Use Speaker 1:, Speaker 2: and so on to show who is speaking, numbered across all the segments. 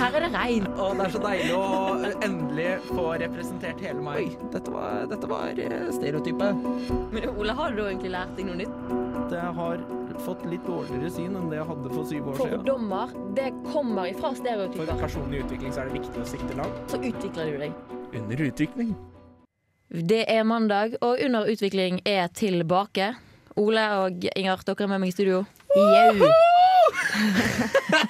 Speaker 1: her er det regn.
Speaker 2: Og det er så deilig å eh, endelig få representert hele meg. Oi, dette var, dette var eh, stereotypet.
Speaker 1: Men Ole, har du egentlig lært deg noe nytt?
Speaker 2: Jeg har fått litt dårligere syn enn det jeg hadde for syv år siden.
Speaker 1: Fordommer, det kommer ifra
Speaker 3: For
Speaker 1: stereotyper.
Speaker 3: personlig utvikling så er det viktig å sikte langt.
Speaker 1: Så utvikler du deg.
Speaker 2: Under utvikling.
Speaker 1: Det er mandag, og Under utvikling er tilbake. Ole og Ingar, dere er med meg i studio.
Speaker 4: Jau.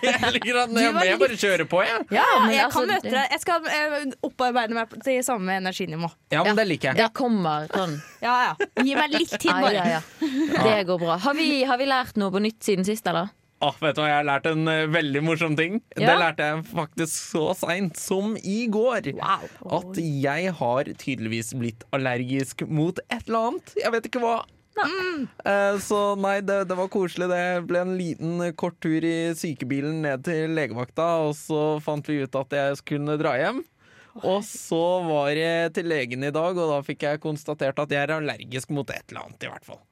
Speaker 2: Jeg liker at når jeg er med, jeg bare kjører på, jeg.
Speaker 1: Ja, men
Speaker 4: Jeg
Speaker 1: altså,
Speaker 4: kan møte deg. Jeg skal eh, opparbeide meg til samme energinivå.
Speaker 2: Ja, men det liker jeg.
Speaker 1: Det kommer sånn.
Speaker 4: Ja, ja. Gi meg litt tid,
Speaker 1: Ai,
Speaker 4: bare.
Speaker 1: ai, ai. Det går bra. Har vi, har vi lært noe på nytt siden sist, eller?
Speaker 2: Åh, vet du hva, jeg har lært en eh, veldig morsom ting. Det
Speaker 1: Ja.
Speaker 2: lærte jeg faktisk så seint som i går. At jeg har tydeligvis blitt allergisk mot et eller annet. Jeg vet ikke hva. Eh, Så nei, det, det var koselig. Det ble en liten eh, kort tur i sykebilen ned til legevakta, og så fant vi ut at jeg skulle dra hjem. Og så var jeg til legen i dag, og da fikk jeg konstatert at jeg er allergisk mot et eller annet, i hvert fall.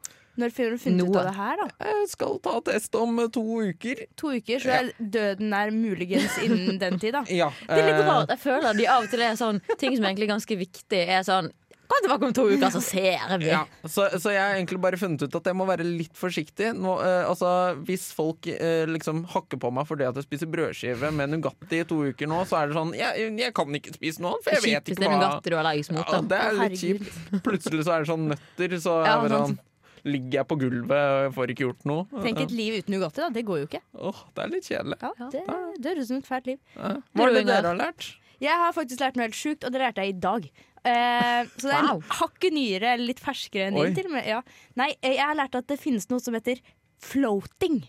Speaker 4: Når får du funnet ut
Speaker 1: Noe.
Speaker 4: av det her, da?
Speaker 2: Jeg skal ta test om eh, to uker.
Speaker 4: To uker, så er døden er muligens innen den tid, da.
Speaker 2: Ja,
Speaker 1: Det er litt
Speaker 2: eh,
Speaker 1: rart. Jeg føler de av og til er sånn ting som egentlig er ganske viktig, er sånn Kom tilbake om to uker, så ser vi.
Speaker 2: Ja, så, så jeg har egentlig bare funnet ut at jeg må være litt forsiktig. Nå, eh, altså, hvis folk eh, liksom hakker på meg fordi at jeg spiser brødskive med Nugatti i to uker nå, så er det sånn Jeg, jeg kan ikke spise noe annet, for jeg vet
Speaker 1: Kjipt hvis
Speaker 2: ikke
Speaker 1: det er
Speaker 2: hva
Speaker 1: Nugatti du er allergisk mot.
Speaker 2: ja,
Speaker 1: da.
Speaker 2: Det er litt
Speaker 4: Herregud.
Speaker 2: kjipt. Plutselig så er det sånn nøtter, så er
Speaker 1: Ja,
Speaker 2: det
Speaker 1: sant.
Speaker 2: sånn, ligger jeg på gulvet og jeg får ikke gjort noe.
Speaker 4: Tenk et liv uten Nugatti, da. Det går jo ikke.
Speaker 2: Åh, det er litt kjedelig.
Speaker 4: Ja, det, det høres ut som et fælt liv.
Speaker 2: Ja.
Speaker 1: Du,
Speaker 2: Hva er det
Speaker 1: Ingar?
Speaker 2: dere har lært?
Speaker 4: Jeg har faktisk lært noe helt sjukt, og det lærte jeg i dag. Eh, så det er
Speaker 1: Wow.
Speaker 4: hakket nyere, eller litt ferskere enn
Speaker 2: Oi.
Speaker 4: din til og med. Ja. Nei, eh, jeg har lært at det finnes noe som heter floating.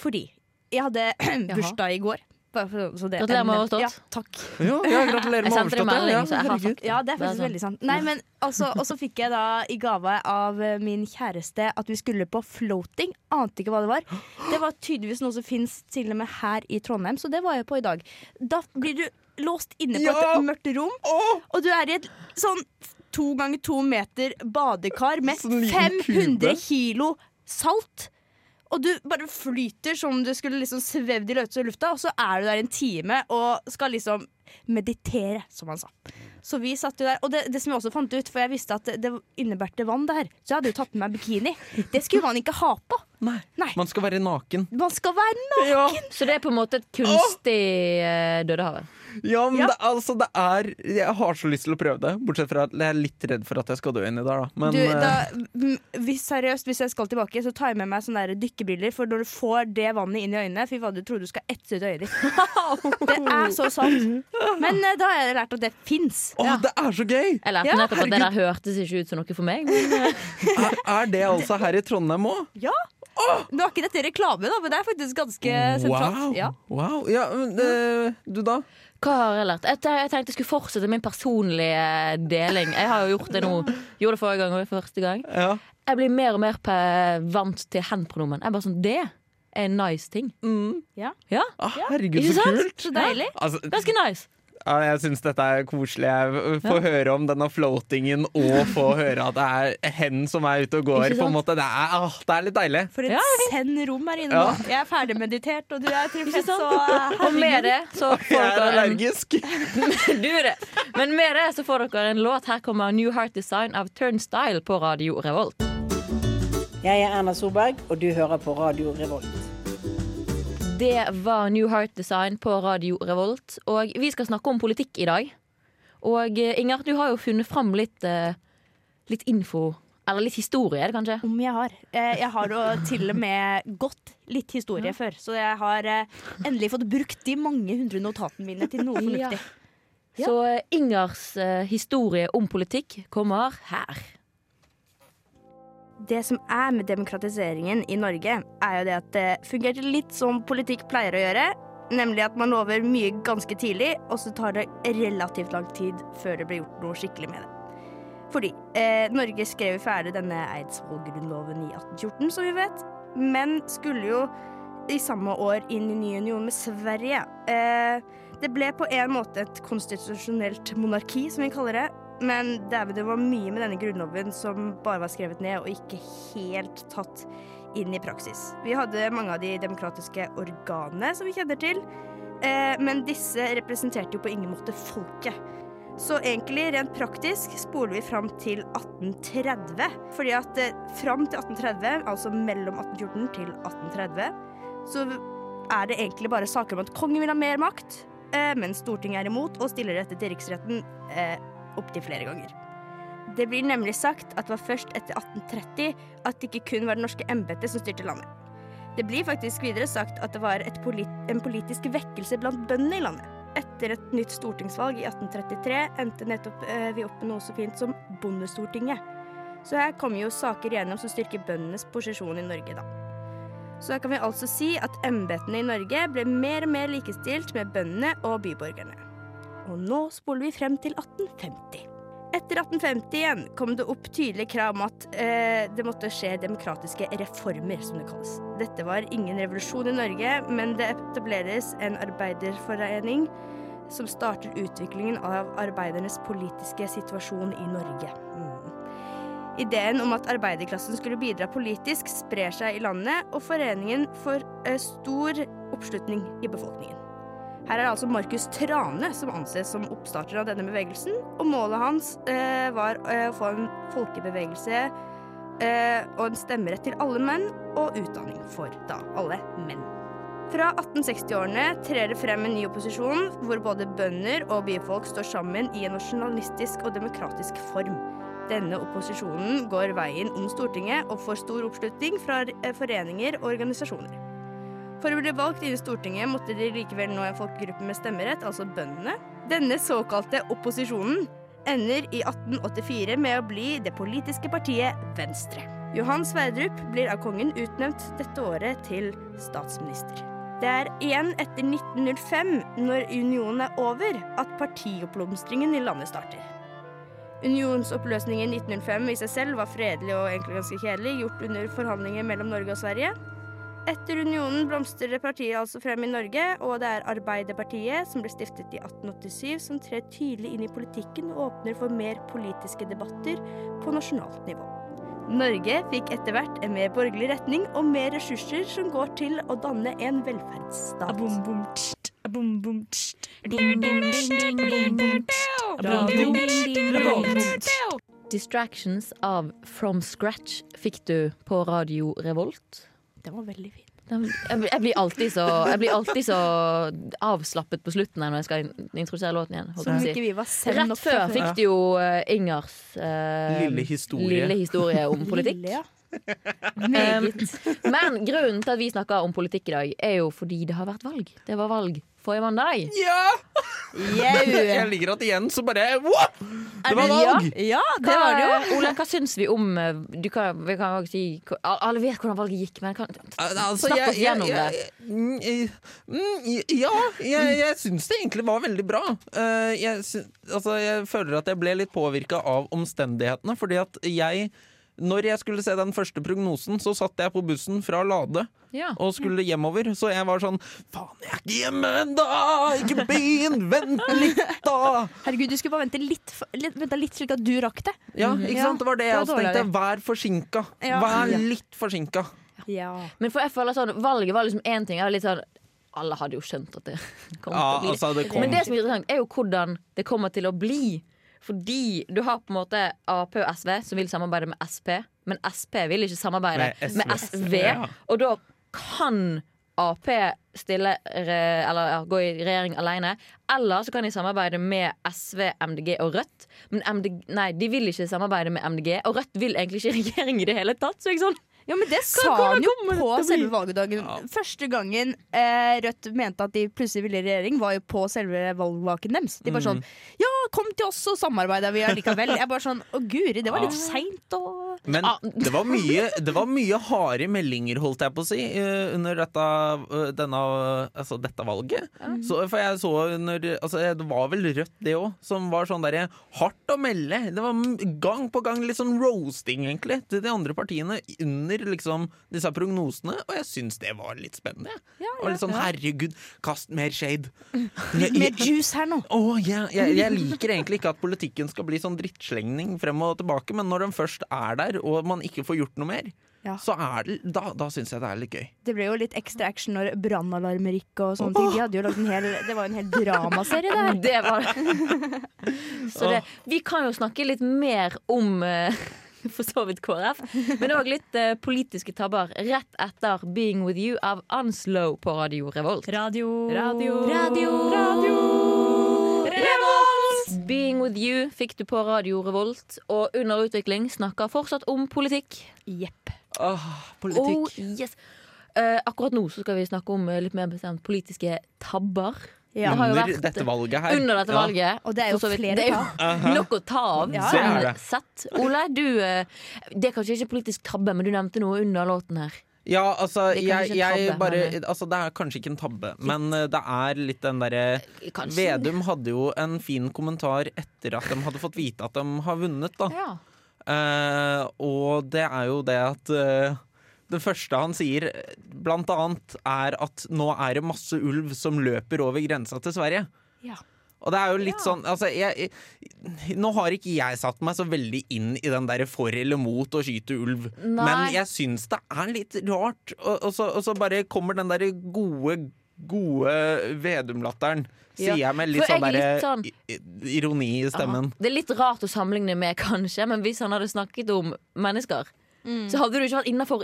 Speaker 4: Fordi jeg hadde bursdag i går. Bare for, så det er
Speaker 1: Gratulerer med overstått.
Speaker 4: Ja, takk.
Speaker 2: Ja, ja, gratulerer
Speaker 1: Jeg
Speaker 2: med
Speaker 1: sendte deg
Speaker 2: overstått.
Speaker 1: melding,
Speaker 2: Ja,
Speaker 1: så jeg har
Speaker 2: herregud.
Speaker 4: Ja, det er
Speaker 1: Det er
Speaker 4: faktisk
Speaker 1: sant.
Speaker 4: veldig sant. Nei, men altså, Og så fikk jeg da i gave av eh, min kjæreste at vi skulle på floating. Ante ikke hva det var. Det var tydeligvis noe som fins til og med her i Trondheim, så det var jeg på i dag. Da blir du låst inne på
Speaker 2: Ja!
Speaker 4: et mørkt rom,
Speaker 2: Åh,
Speaker 4: og du er i et sånn to ganger to meter badekar med
Speaker 2: Sånn liten
Speaker 4: 500
Speaker 2: kube.
Speaker 4: kilo salt. Og du bare flyter som om du skulle liksom svevd i løse lufta, og så er du der en time og skal liksom meditere, som han sa. Så vi satt jo der. Og det, det som jeg også fant ut, for jeg visste at det innebærte vann der, så jeg hadde jo tatt med meg bikini. Det skulle man ikke ha på.
Speaker 2: nei.
Speaker 4: Nei.
Speaker 2: Man skal være naken.
Speaker 4: Man skal være naken.
Speaker 2: Ja.
Speaker 1: Så det er på en måte et kunstig uh, Dødehavet.
Speaker 2: Ja, men
Speaker 4: Ja.
Speaker 2: Det, altså, det er Jeg har så lyst til å prøve det, bortsett fra at jeg er litt redd for at jeg skal dø inni der, da. Men
Speaker 4: du,
Speaker 2: eh,
Speaker 4: da, m- hvis, seriøst, hvis jeg skal tilbake, så tar jeg med meg sånne der dykkebriller. For når du får det vannet inn i øynene Fy fader, du tror du skal etse ut øyet ditt. Det er så sant. Men eh, da har jeg lært at det fins.
Speaker 2: Å, det er så gøy!
Speaker 1: Jeg lærte
Speaker 4: Ja,
Speaker 1: nettopp at det der hørtes ikke ut som noe for meg. Men
Speaker 2: Er, er det altså her i Trondheim òg?
Speaker 4: Ja. Nå er ikke dette reklame, da, men det er faktisk ganske sentralt.
Speaker 2: Wow.
Speaker 4: Ja.
Speaker 2: wow. Ja, men, eh, du, da?
Speaker 1: hva har jeg lært? Jeg, te- jeg tenkte jeg skulle fortsette min personlige eh, deling. Jeg har jo gjort det nå. Gjorde det forrige gang og første gang.
Speaker 2: Ja.
Speaker 1: Jeg blir mer og mer pe- vant til hen-pronomen. Jeg er bare sånn, Det er en nice ting.
Speaker 2: Mm.
Speaker 4: Ja.
Speaker 1: Ja,
Speaker 2: Ah, herregud,
Speaker 1: Ikke
Speaker 2: så
Speaker 1: sant?
Speaker 2: kult!
Speaker 4: Så deilig.
Speaker 2: Altså,
Speaker 1: Ganske nice.
Speaker 2: ja, jeg syns dette er koselig. Jeg får høre om denne floatingen og få høre at det er hen som er ute og går.
Speaker 1: Ikke
Speaker 2: På en
Speaker 1: sant?
Speaker 2: måte. Det, er, ah, det er litt deilig.
Speaker 4: For et
Speaker 1: Ja.
Speaker 4: send rom her inne
Speaker 2: Ja.
Speaker 4: nå. Jeg er ferdig meditert, og du er
Speaker 1: Ikke
Speaker 4: tilfreds.
Speaker 1: sant?
Speaker 4: Så eh,
Speaker 1: Og med det så
Speaker 2: Jeg
Speaker 1: får
Speaker 2: er
Speaker 1: dere en
Speaker 2: allergisk.
Speaker 1: Du er det. Men med det så får dere en låt. Her kommer New Heart Design av Turnstyle på Radio Revolt.
Speaker 5: Jeg er Erna Solberg, og du hører på Radio Revolt.
Speaker 1: Det var New Heart Design på Radio Revolt. Og vi skal snakke om politikk i dag. Og eh, Inger, du har jo funnet fram litt, eh, litt info. Eller litt historie, er det kanskje?
Speaker 4: Om jeg har. Eh, Jeg har jo til og med gått litt historie før, så jeg har eh, endelig fått brukt de mange hundre notatene mine til noe fornuftig. Ja.
Speaker 1: Så eh, Ingers eh, historie om politikk kommer her.
Speaker 4: Det som er med demokratiseringen i Norge, er jo det at det fungerte litt som politikk pleier å gjøre, nemlig at man lover mye ganske tidlig, og så tar det relativt lang tid før det blir gjort noe skikkelig med det. Fordi eh, Norge skrev jo ferdig denne Eidsvoll-grunnloven i 1814, som vi vet, men skulle jo i samme år inn i ny union med Sverige. Eh, det ble på en måte et konstitusjonelt monarki, som vi kaller det, men dæven, det var mye med denne grunnloven som bare var skrevet ned og ikke helt tatt inn i praksis. Vi hadde mange av de demokratiske organene som vi kjenner til, Eh, men disse representerte jo på ingen måte folket. Så egentlig, rent praktisk, spoler vi fram til 1830. Fordi at eh, fram til 1830, altså mellom 1814 til 1830, så er det egentlig bare saker om at kongen vil ha mer makt, eh, men Stortinget er imot og stiller dette til riksretten eh, opptil flere ganger. Det blir nemlig sagt at det var først etter 1830 at det ikke kun var det norske embetet som styrte landet. Det blir faktisk videre sagt at det var et polit en politisk vekkelse blant bøndene i landet. Etter et nytt stortingsvalg i 1833 endte nettopp eh, vi opp med noe så fint som Bondestortinget. Så her kommer jo saker igjennom som styrker bøndenes posisjon i Norge, da. Så her kan vi altså si at embetene i Norge ble mer og mer likestilt med bøndene og byborgerne. Og nå spoler vi frem til 1850. Etter 1850 igjen kom det opp tydelige krav om at eh, det måtte skje demokratiske reformer, som det kalles. Dette var ingen revolusjon i Norge, men det etableres en arbeiderforening som starter utviklingen av arbeidernes politiske situasjon i Norge. Mm. Ideen om at arbeiderklassen skulle bidra politisk, sprer seg i landet, og foreningen får eh, stor oppslutning i befolkningen. Her er det altså Markus Trane som anses som oppstarter av denne bevegelsen, og målet hans eh, var eh, å få en folkebevegelse eh, og en stemmerett til alle menn, og utdanning for da alle menn. Fra 1860-årene trer det frem en ny opposisjon, hvor både bønder og byfolk står sammen i en nasjonalistisk og demokratisk form. Denne opposisjonen går veien om Stortinget og får stor oppslutning fra eh, foreninger og organisasjoner. For å bli valgt inn i Stortinget måtte de likevel nå en folkegruppe med stemmerett, altså bøndene. Denne såkalte opposisjonen ender i 1884 med å bli det politiske partiet Venstre. Johan Sverdrup blir av kongen utnevnt dette året til statsminister. Det er igjen etter 1905, når unionen er over, at partioppblomstringen i landet starter. Unionsoppløsningen i 1905 i seg selv var fredelig og egentlig ganske kjedelig, gjort under forhandlinger mellom Norge og Sverige. Etter unionen blomstrer partiet altså frem i Norge, og det er Arbeiderpartiet, som ble stiftet i 1887, som trer tydelig inn i politikken og åpner for mer politiske debatter på nasjonalt nivå. Norge fikk etter hvert en mer borgerlig retning og mer ressurser som går til å danne en velferdsstat.
Speaker 1: Distractions av From Scratch fikk du på Radio Revolt.
Speaker 4: Den var veldig fin.
Speaker 1: Den- Jeg blir- jeg blir alltid så, jeg blir alltid så avslappet på slutten her når jeg skal in- introdusere låten igjen. holdt jeg
Speaker 4: Som
Speaker 1: på å si.
Speaker 4: ikke vi var selv
Speaker 1: Rett
Speaker 4: nok
Speaker 1: før fikk du jo eh, Ingers eh,
Speaker 2: Lille historie.
Speaker 1: lille historie om politikk.
Speaker 4: Lille, ja.
Speaker 1: Eh, men grunnen til at vi snakker om politikk i dag, er jo fordi det har vært valg. Det var valg forrige mandag.
Speaker 2: Ja! Jeg
Speaker 4: Jau.
Speaker 2: liker at igjen så bare What? Det var
Speaker 1: Ja.
Speaker 2: valg!
Speaker 4: Ja,
Speaker 1: Hva,
Speaker 4: det var det jo.
Speaker 1: Ole, hva syns vi om eh, du kan, Vi kan jo ikke si hva- Alle vet hvordan valget gikk, men kan,
Speaker 2: Al- Altså,
Speaker 1: snakk oss gjennom det.
Speaker 2: Mm, jeg- mm, Ja, jeg, jeg syns det egentlig var veldig bra. Eh, Jeg, syn- altså, jeg føler at jeg ble litt påvirka av omstendighetene, fordi at jeg når jeg skulle se den første prognosen, så satt jeg på bussen fra Lade
Speaker 1: Ja.
Speaker 2: og skulle hjemover. Så jeg var sånn Faen, jeg er ikke hjemme ennå! Ikke begynn! Vent litt, da!
Speaker 4: Herregud, du skulle bare vente litt, f- litt, vente litt slik at du rakk det.
Speaker 2: Ja, ikke
Speaker 4: Ja,
Speaker 2: sant? Det var det jeg
Speaker 4: det var
Speaker 2: også
Speaker 4: dårlig.
Speaker 2: tenkte. Vær forsinka.
Speaker 4: Ja.
Speaker 2: Vær
Speaker 4: Ja.
Speaker 2: litt forsinka.
Speaker 1: Men for jeg føler sånn, valget var liksom én ting. Jeg var litt sånn Alle hadde jo skjønt at det kom til å bli det.
Speaker 2: det
Speaker 1: Men det som er interessant, er jo hvordan det kommer til å bli. Fordi du har på en måte Ap og SV som vil samarbeide med Sp, men Sp vil ikke samarbeide
Speaker 2: Med SV.
Speaker 1: med SV.
Speaker 2: Ja.
Speaker 1: Og da kan Ap stille re- eller ja, gå i regjering alene. Eller så kan de samarbeide med SV, MDG og Rødt. Men MDG, nei, de vil ikke samarbeide med MDG, og Rødt vil egentlig ikke i regjering i det hele tatt. Så ikke sånn
Speaker 4: Ja, men det sa
Speaker 1: hvordan
Speaker 4: han jo på
Speaker 1: til å bli?
Speaker 4: selve valgdagen. Første gangen eh, Rødt mente at de plutselig ville i regjering, var jo på selve valgvaken deres. De bare sånn Ja, kom til oss, så samarbeider vi allikevel. Jeg bare sånn Å, guri, det var litt seint og
Speaker 2: Men det var mye, det var mye harde meldinger, holdt jeg på å si, eh, under dette, eh, denne, altså dette valget. Så, for jeg så under altså, Det var vel Rødt, det òg, som var sånn derre hardt å melde. Det var m- gang på gang litt sånn roasting, egentlig, til de andre partiene under liksom disse prognosene, og jeg syns det var litt spennende. og litt sånn herregud, kast mer shade.
Speaker 4: Mer juice her nå.
Speaker 2: Åh, jeg- jeg, jeg liker egentlig ikke at politikken skal bli sånn drittslengning frem og tilbake, men når den først er der og man ikke får gjort noe mer,
Speaker 6: Ja.
Speaker 2: så er det, da, da syns jeg det er litt gøy.
Speaker 6: Det ble jo litt ekstra action når brannalarmer gikk og sånne ting. De hadde jo lagd en hel, det var jo en hel dramaserie der.
Speaker 1: Det var det. Så det, vi kan jo snakke litt mer om eh, for så vidt KrF, men òg litt eh, politiske tabber rett etter 'Being With You' av Anslow på Radio Revolt.
Speaker 7: Radio.
Speaker 1: Radio. Revolt! Being With You fikk du på Radio Revolt, og Under utvikling snakker fortsatt om politikk.
Speaker 6: Jepp.
Speaker 2: Åh,
Speaker 1: Oh,
Speaker 2: politikk.
Speaker 1: yes. Eh, akkurat nå så skal vi snakke om eh, litt mer bestemt politiske tabber.
Speaker 6: Ja.
Speaker 1: Det har jo
Speaker 2: Under
Speaker 1: vært-
Speaker 2: dette valget her.
Speaker 1: under dette
Speaker 2: Ja.
Speaker 1: valget.
Speaker 6: Og det er jo
Speaker 1: for så vidt.
Speaker 6: flere
Speaker 1: Det er jo
Speaker 2: Aha.
Speaker 1: Nok å ta av.
Speaker 6: Ja.
Speaker 2: Det er det.
Speaker 1: Sett. Ole, du eh, Det er kanskje ikke politisk tabbe, men du nevnte noe under låten her.
Speaker 2: Ja, altså,
Speaker 1: Det er kanskje
Speaker 2: jeg,
Speaker 1: ikke en
Speaker 2: jeg
Speaker 1: tabbe,
Speaker 2: bare
Speaker 1: men- eh,
Speaker 2: Altså, det er kanskje ikke en tabbe, men eh, det er litt den derre
Speaker 1: Kanskje.
Speaker 2: Vedum hadde jo en fin kommentar etter at de hadde fått vite at de har vunnet, da.
Speaker 1: Ja.
Speaker 2: Eh, og det er jo det at eh, Det første han sier, blant annet, er at nå er det masse ulv som løper over grensa til Sverige.
Speaker 6: Ja.
Speaker 2: Og det er jo litt sånn altså, jeg, jeg, Nå har ikke jeg satt meg så veldig inn i den der for eller mot å skyte ulv,
Speaker 1: Nei.
Speaker 2: men jeg syns det er litt rart. Og, og, så, og så bare kommer den derre gode, gode Vedum-latteren,
Speaker 1: Ja,
Speaker 2: sier jeg med
Speaker 1: for
Speaker 2: litt
Speaker 1: jeg
Speaker 2: sånn
Speaker 1: er
Speaker 2: derre
Speaker 1: litt sånn-
Speaker 2: i- ironi i stemmen.
Speaker 1: Aha. Det er litt rart å sammenligne med, kanskje, men hvis han hadde snakket om mennesker, så hadde du ikke vært innafor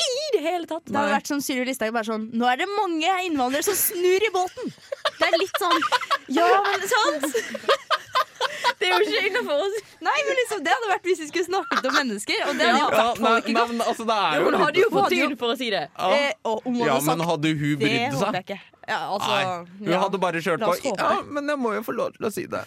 Speaker 1: i det hele tatt.
Speaker 6: Mm. Det hadde vært sånn Sylvi Listhaug bare sånn Nå er det mange innvandrere som snur i båten! Det er litt sånn Ja, men sant?
Speaker 1: Det er jo ikke innafor oss.
Speaker 6: Nei, men liksom, det hadde vært hvis vi skulle snakket om mennesker. Og det
Speaker 1: Ja.
Speaker 6: hadde jo
Speaker 2: Ja,
Speaker 6: vært
Speaker 2: nei,
Speaker 6: folk i
Speaker 2: nei, men altså, det er jo
Speaker 1: Hun hadde jo fått tyn for å si det.
Speaker 2: Ja.
Speaker 6: Eh, og om hun
Speaker 2: Ja,
Speaker 6: hadde
Speaker 2: men
Speaker 6: sagt
Speaker 2: hadde hun
Speaker 6: det,
Speaker 2: brydd
Speaker 6: håper
Speaker 2: seg?
Speaker 6: jeg ikke. Ja, altså,
Speaker 2: Nei, hun
Speaker 6: ja.
Speaker 2: hadde bare kjørt
Speaker 6: La
Speaker 2: på.
Speaker 6: oss håpe.
Speaker 2: Ja, men jeg må jo få lov til å si det.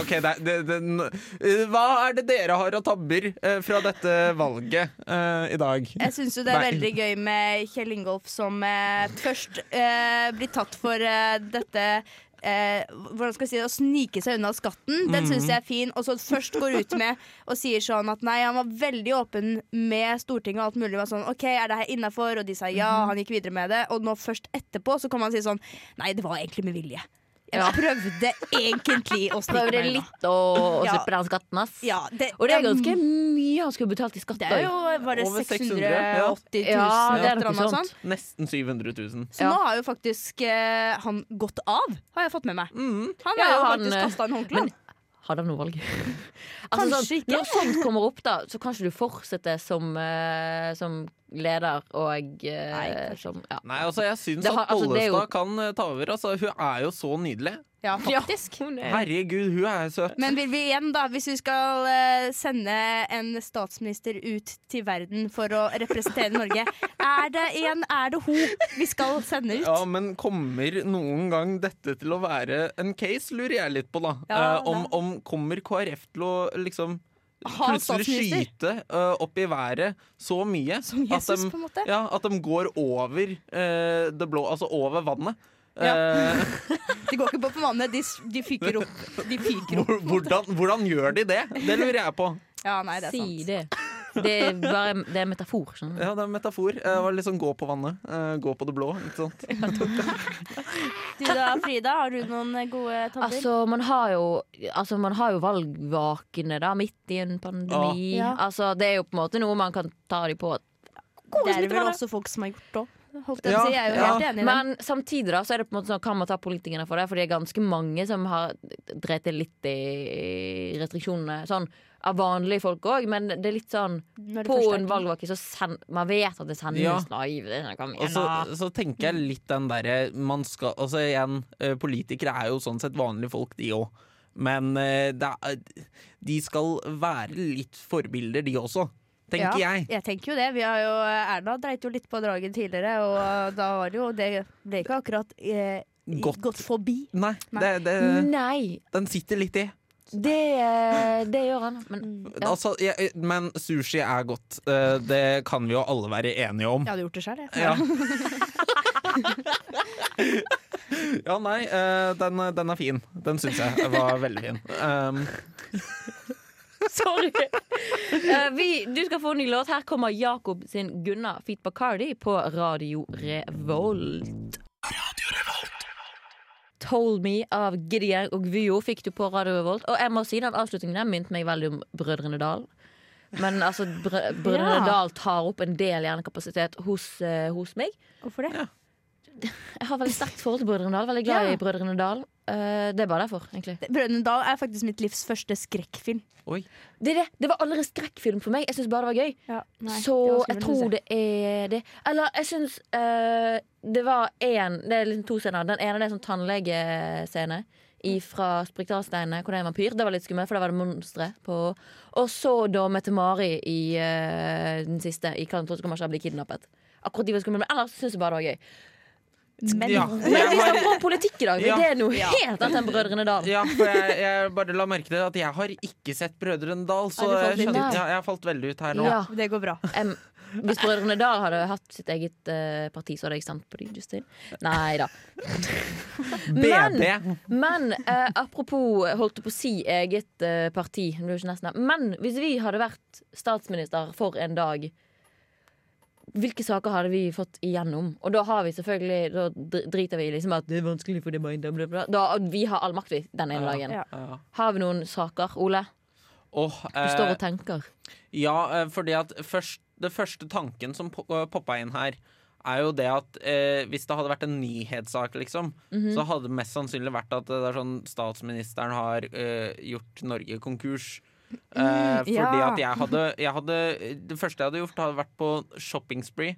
Speaker 2: Ok, det, det, det, n- Hva er det dere har av tabber eh, fra dette valget eh, i dag?
Speaker 6: Jeg syns jo det er
Speaker 2: Nei.
Speaker 6: veldig gøy med Kjell Ingolf som eh, først eh, blir tatt for eh, dette eh, Hvordan skal jeg si det? Å snike seg unna skatten. Den
Speaker 1: Mhm.
Speaker 6: syns jeg er fin. Og så først går ut med og sier sånn at nei, han var veldig åpen med Stortinget og alt mulig. Var sånn OK, er det her innafor? Og de sa
Speaker 1: Mhm.
Speaker 6: ja, han gikk videre med det. Og nå først etterpå så kan man si sånn Nei, det var egentlig med vilje. Jeg
Speaker 1: Ja.
Speaker 6: prøvde egentlig å snike
Speaker 1: Prøvde
Speaker 6: meg unna.
Speaker 1: litt å, å
Speaker 6: Ja.
Speaker 1: slippe den skatten, ass.
Speaker 6: Ja, det,
Speaker 1: Og det er ganske mye han skulle betalt i skatt.
Speaker 6: Det er jo bare
Speaker 2: Over 600,
Speaker 6: 680
Speaker 2: ja.
Speaker 6: 000
Speaker 1: Ja, det er
Speaker 6: eller
Speaker 1: noe
Speaker 6: noe
Speaker 1: sånt.
Speaker 6: sånt.
Speaker 2: Nesten 700 000.
Speaker 6: Så
Speaker 1: Ja.
Speaker 6: nå har jo faktisk eh, han gått av, har jeg fått med meg. Han
Speaker 1: Ja,
Speaker 6: har jo
Speaker 1: han,
Speaker 6: faktisk
Speaker 1: eh,
Speaker 6: kasta en håndkle.
Speaker 1: men- Hadde han noe valg? altså,
Speaker 6: Kanskje
Speaker 1: sånn,
Speaker 6: ikke.
Speaker 1: Når sånt kommer opp, da, så kan ikke du fortsette som, eh, som leder og eh,
Speaker 6: Nei, kanskje
Speaker 1: som ja.
Speaker 2: Nei, altså, jeg syns
Speaker 1: Det har-
Speaker 2: at
Speaker 1: altså, det er jo-
Speaker 2: Bollestad kan eh, ta over. Altså, hun er jo så nydelig.
Speaker 6: Ja, faktisk.
Speaker 2: Herregud, hun er søt.
Speaker 6: Men vil vi igjen, da, hvis vi skal eh, sende en statsminister ut til verden for å representere Norge, er det igjen er det hun vi skal sende ut?
Speaker 2: Ja, men kommer noen gang dette til å være en case, lurer jeg litt på, da.
Speaker 6: Ja,
Speaker 2: Eh, om, om kommer KrF til å liksom
Speaker 6: Ha
Speaker 2: plutselig
Speaker 6: statsminister.
Speaker 2: skyte eh, opp i været så mye
Speaker 6: Som Jesus,
Speaker 2: at, de,
Speaker 6: på en måte.
Speaker 2: ja, at de går over eh, det blå, altså over vannet. Eh,
Speaker 6: De går ikke på på vannet, de, s- de fyker opp. De fyker opp.
Speaker 2: hvor- hvordan, hvordan gjør de det? Det lurer jeg på.
Speaker 6: Ja, nei, det er
Speaker 1: Si
Speaker 6: sant.
Speaker 1: det. Det er bare det er metafor. skjønner du.
Speaker 2: Ja, det er en metafor. Eh, var liksom gå på vannet. eh, gå på det blå, ikke sant.
Speaker 6: Du da, Frida, har du noen eh, gode tabber?
Speaker 1: Altså, man har jo, altså, man har jo valgvakene da, midt i en pandemi.
Speaker 6: Ja. Ja.
Speaker 1: Altså, det er jo på en måte noe man kan ta dem på.
Speaker 6: det er
Speaker 1: smitte
Speaker 6: vel
Speaker 1: var det.
Speaker 6: også folk som har gjort det òg. Holdt jeg på
Speaker 2: Ja,
Speaker 6: å si. Jeg er jo
Speaker 2: ja.
Speaker 6: helt enig i det.
Speaker 1: Men samtidig da, så er det på en måte sånn, kan man ta politikerne for det, for det er ganske mange som har dreit litt i restriksjonene. Sånn, av vanlige folk òg, men det er litt sånn
Speaker 6: Når det
Speaker 1: På
Speaker 6: først er
Speaker 1: en
Speaker 6: krig.
Speaker 1: valgvake så send, Man vet at det sendes
Speaker 2: Ja.
Speaker 1: naiv det er- Kom
Speaker 2: Og
Speaker 1: igjen
Speaker 2: så,
Speaker 1: da
Speaker 2: så tenker jeg litt den derre man skal Altså igjen, eh, politikere er jo sånn sett vanlige folk, de òg. Men eh, det er, de skal være litt forbilder, de også, tenker
Speaker 6: ja,
Speaker 2: jeg.
Speaker 6: Jeg tenker jo det. Vi har jo, Erna dreit jo litt på draget tidligere, og da var det jo Det ble ikke akkurat eh,
Speaker 2: Godt.
Speaker 6: gått. forbi.
Speaker 2: Nei,
Speaker 6: Nei.
Speaker 2: det, det,
Speaker 1: Mm. Nei,
Speaker 2: den sitter litt i.
Speaker 1: det, det gjør han Men Ja.
Speaker 2: Altså, jeg, men sushi er godt. Eh, Det kan vi jo alle være enige om.
Speaker 6: Jeg hadde gjort det sjøl, jeg.
Speaker 2: Ja. ja, nei, eh, den, den er fin. Den syns jeg var veldig fin. Um,
Speaker 1: sorry Eh, vi, Du skal få en ny låt Her kommer Jakob sin Gunnar Feet Bacardi På Radio Revolt Told Me av Gideon og Vujo fikk du på Radio Revolt. Og jeg må si den avslutningen der minte meg veldig om Brødrene Dal. Men altså, Br
Speaker 4: Ja.
Speaker 1: Brønnøy Dal tar opp en del hjernekapasitet hos, eh, hos meg.
Speaker 4: Hvorfor det?
Speaker 1: Jeg har veldig sterkt forhold til Brødrene Dal. Veldig glad
Speaker 4: Ja.
Speaker 1: i Brødrene Dal. Eh, det er bare derfor, egentlig.
Speaker 4: Brønnøy Dal er faktisk mitt livs første skrekkfilm.
Speaker 2: Oi.
Speaker 1: Det, er det. det var aldri skrekkfilm for meg. Jeg syns bare det var gøy. så jeg tror det er det. Eller jeg syns eh, det var én Det er liksom to scener. Den ene det er en sånn tannlegescene i- fra Sprikdalsteinene, hvor det er en vampyr. Det var litt skummelt, for da var det monstre på. Og så da Mette-Mari i eh, den siste, i Kan tro du kommer ikke til å bli kidnappet. Akkurat de var skumle, men ellers syns jeg bare det var gøy.
Speaker 4: Men
Speaker 2: Ja.
Speaker 1: Men
Speaker 2: Jeg
Speaker 1: vi
Speaker 2: har,
Speaker 1: snakker om politikk i dag, for
Speaker 2: Ja.
Speaker 1: det er noe helt annet enn Brødrene Dal.
Speaker 2: ja, for jeg, jeg bare la merke til at jeg har ikke sett Brødrene Dal, så
Speaker 1: Nei, du falt
Speaker 2: jeg,
Speaker 1: litt
Speaker 2: skjønner,
Speaker 1: ut.
Speaker 2: ja, jeg har falt veldig ut her nå.
Speaker 1: Ja.
Speaker 4: det går bra.
Speaker 1: Em, hvis Brødrene Dal hadde hatt sitt eget eh, parti, så hadde jeg stemt på dem, Justin. Nei da. Men,
Speaker 2: BD.
Speaker 1: men eh, apropos holdt jeg på å si eget eh, parti, det blir jo ikke nesten det. Men hvis vi hadde vært statsminister for en dag, hvilke saker hadde vi fått igjennom? Og da har vi selvfølgelig Da dr- driter vi i liksom at det er vanskelig for det er mange da, bla, bla. Da, Vi har all makt, vi, den ene
Speaker 2: Ja.
Speaker 1: dagen.
Speaker 4: Ja.
Speaker 2: Ja.
Speaker 1: Har vi noen saker, Ole?
Speaker 2: Åh,
Speaker 1: Du
Speaker 2: eh,
Speaker 1: står og tenker.
Speaker 2: Ja, eh, fordi at først, det første tanken som po- eh, poppa inn her, er jo det at eh, hvis det hadde vært en nyhetssak, liksom,
Speaker 1: Mhm.
Speaker 2: så hadde det mest sannsynlig vært at det er sånn statsministeren har eh, gjort Norge konkurs.
Speaker 1: Mm,
Speaker 2: Eh, fordi
Speaker 4: ja.
Speaker 2: at jeg hadde, jeg hadde Det første jeg hadde gjort, hadde vært på shopping-spree.